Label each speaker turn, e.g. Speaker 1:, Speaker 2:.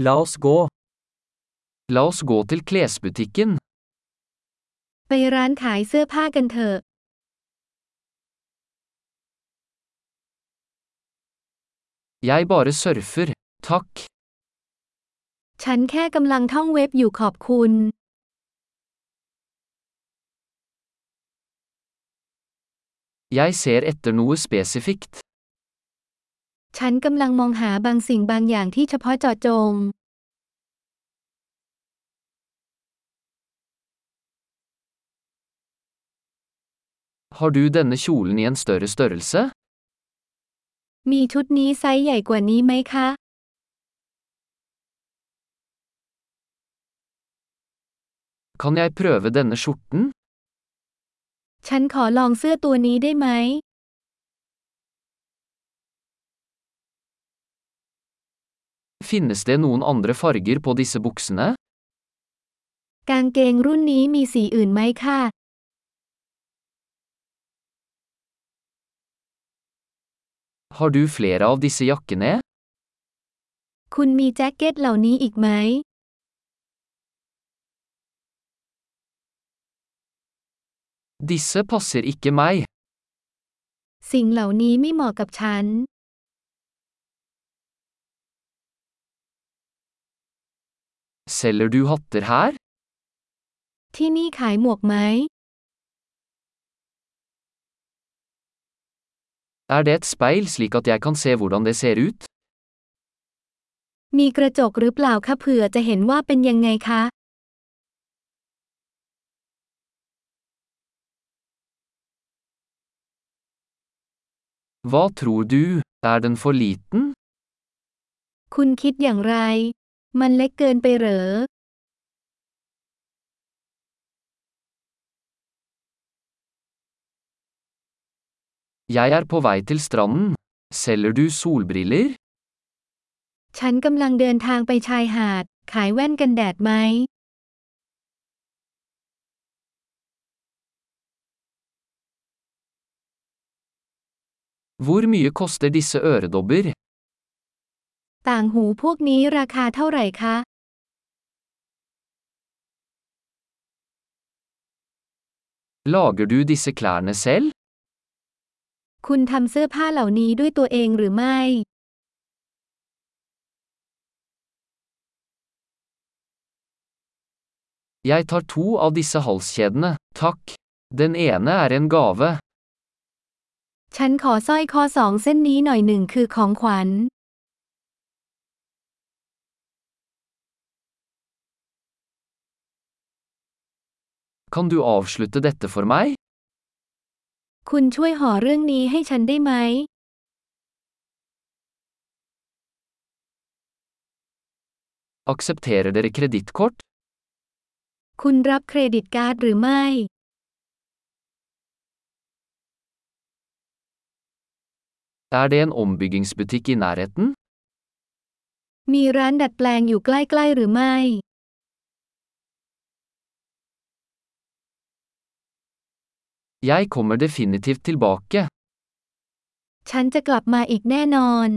Speaker 1: La oss gå. La oss gå til klesbutikken.
Speaker 2: ไปร้านขายเสื้อผ้ากันเถอะ
Speaker 1: Jeg bare surfer. Takk.
Speaker 2: ฉันแค่กำลังท่องเว็บอยู่ขอบคุณ
Speaker 1: Jeg ser etter noe spesifikt.
Speaker 2: ฉันกำลังมองหาบางสิ่งบางอย่างที่เฉพาะเจาะจง
Speaker 1: Har du denne kjolen i en større størrelse?
Speaker 2: มีชุดนี้ไซส์ใหญ่กว่านี้ไหมคะ
Speaker 1: Kan jeg prøve denne skjorten?
Speaker 2: ฉันขอลองเสื้อตัวนี้ได้ไหม
Speaker 1: Finnes det noen andre farger på disse buksene?
Speaker 2: กางเกงรุ่นนี้มีสีอื่นไหมคะ
Speaker 1: Har du flere av disse jakkene?
Speaker 2: คุณมีแจ็คเก็ตเหล่านี้อีกไหม
Speaker 1: Disse passer ikke meg.
Speaker 2: สิ่งเหล่านี้ไม่เหมาะกับฉัน
Speaker 1: Selger du hatter her?
Speaker 2: ที่นี่ขายหมวกไหม
Speaker 1: Er det et speil slik at jeg kan se hvordan det ser ut?
Speaker 2: มีกระจกหรือเปล่าคะเผื่อจะเห็นว่าเป็นยังไงคะ
Speaker 1: Hva tror du? Er den for liten?
Speaker 2: คุณคิดอย่างไร มันเล็กเกินไปเหรอ
Speaker 1: Jeg er på vei til stranden. Selger du solbriller?
Speaker 2: ฉันกำลังเดินทางไปชายหาด ขายแว่นกันแดดไหม
Speaker 1: Hvor mye koster disse øredobber?
Speaker 2: ต่างหูพวกนี้ราคาเท่าไหร่คะ
Speaker 1: Lager du disse klærne selv?
Speaker 2: คุณทำเสื้อผ้าเหล่านี้ด้วยตัวเองหรือไม่
Speaker 1: Jeg tar to av disse halskjedene, takk. Den ene er en gave.
Speaker 2: ฉันขอสร้อยคอสองเส้นนี้หน่อยหนึ่งคือของขวัญ
Speaker 1: Kan du avslutte dette for meg?
Speaker 2: คุณช่วยห่อเรื่องนี้ให้ฉันได้ไหม
Speaker 1: Aksepterer dere kredittkort?
Speaker 2: คุณรับเครดิตการ์ดหรือไม่
Speaker 1: Er det en ombyggingsbutikk i nærheten?
Speaker 2: มีร้านดัดแปลงอยู่ใกล้ๆหรือไม่
Speaker 1: Jeg kommer definitivt tilbake.
Speaker 2: ฉันจะกลับมาอีกแน่นอน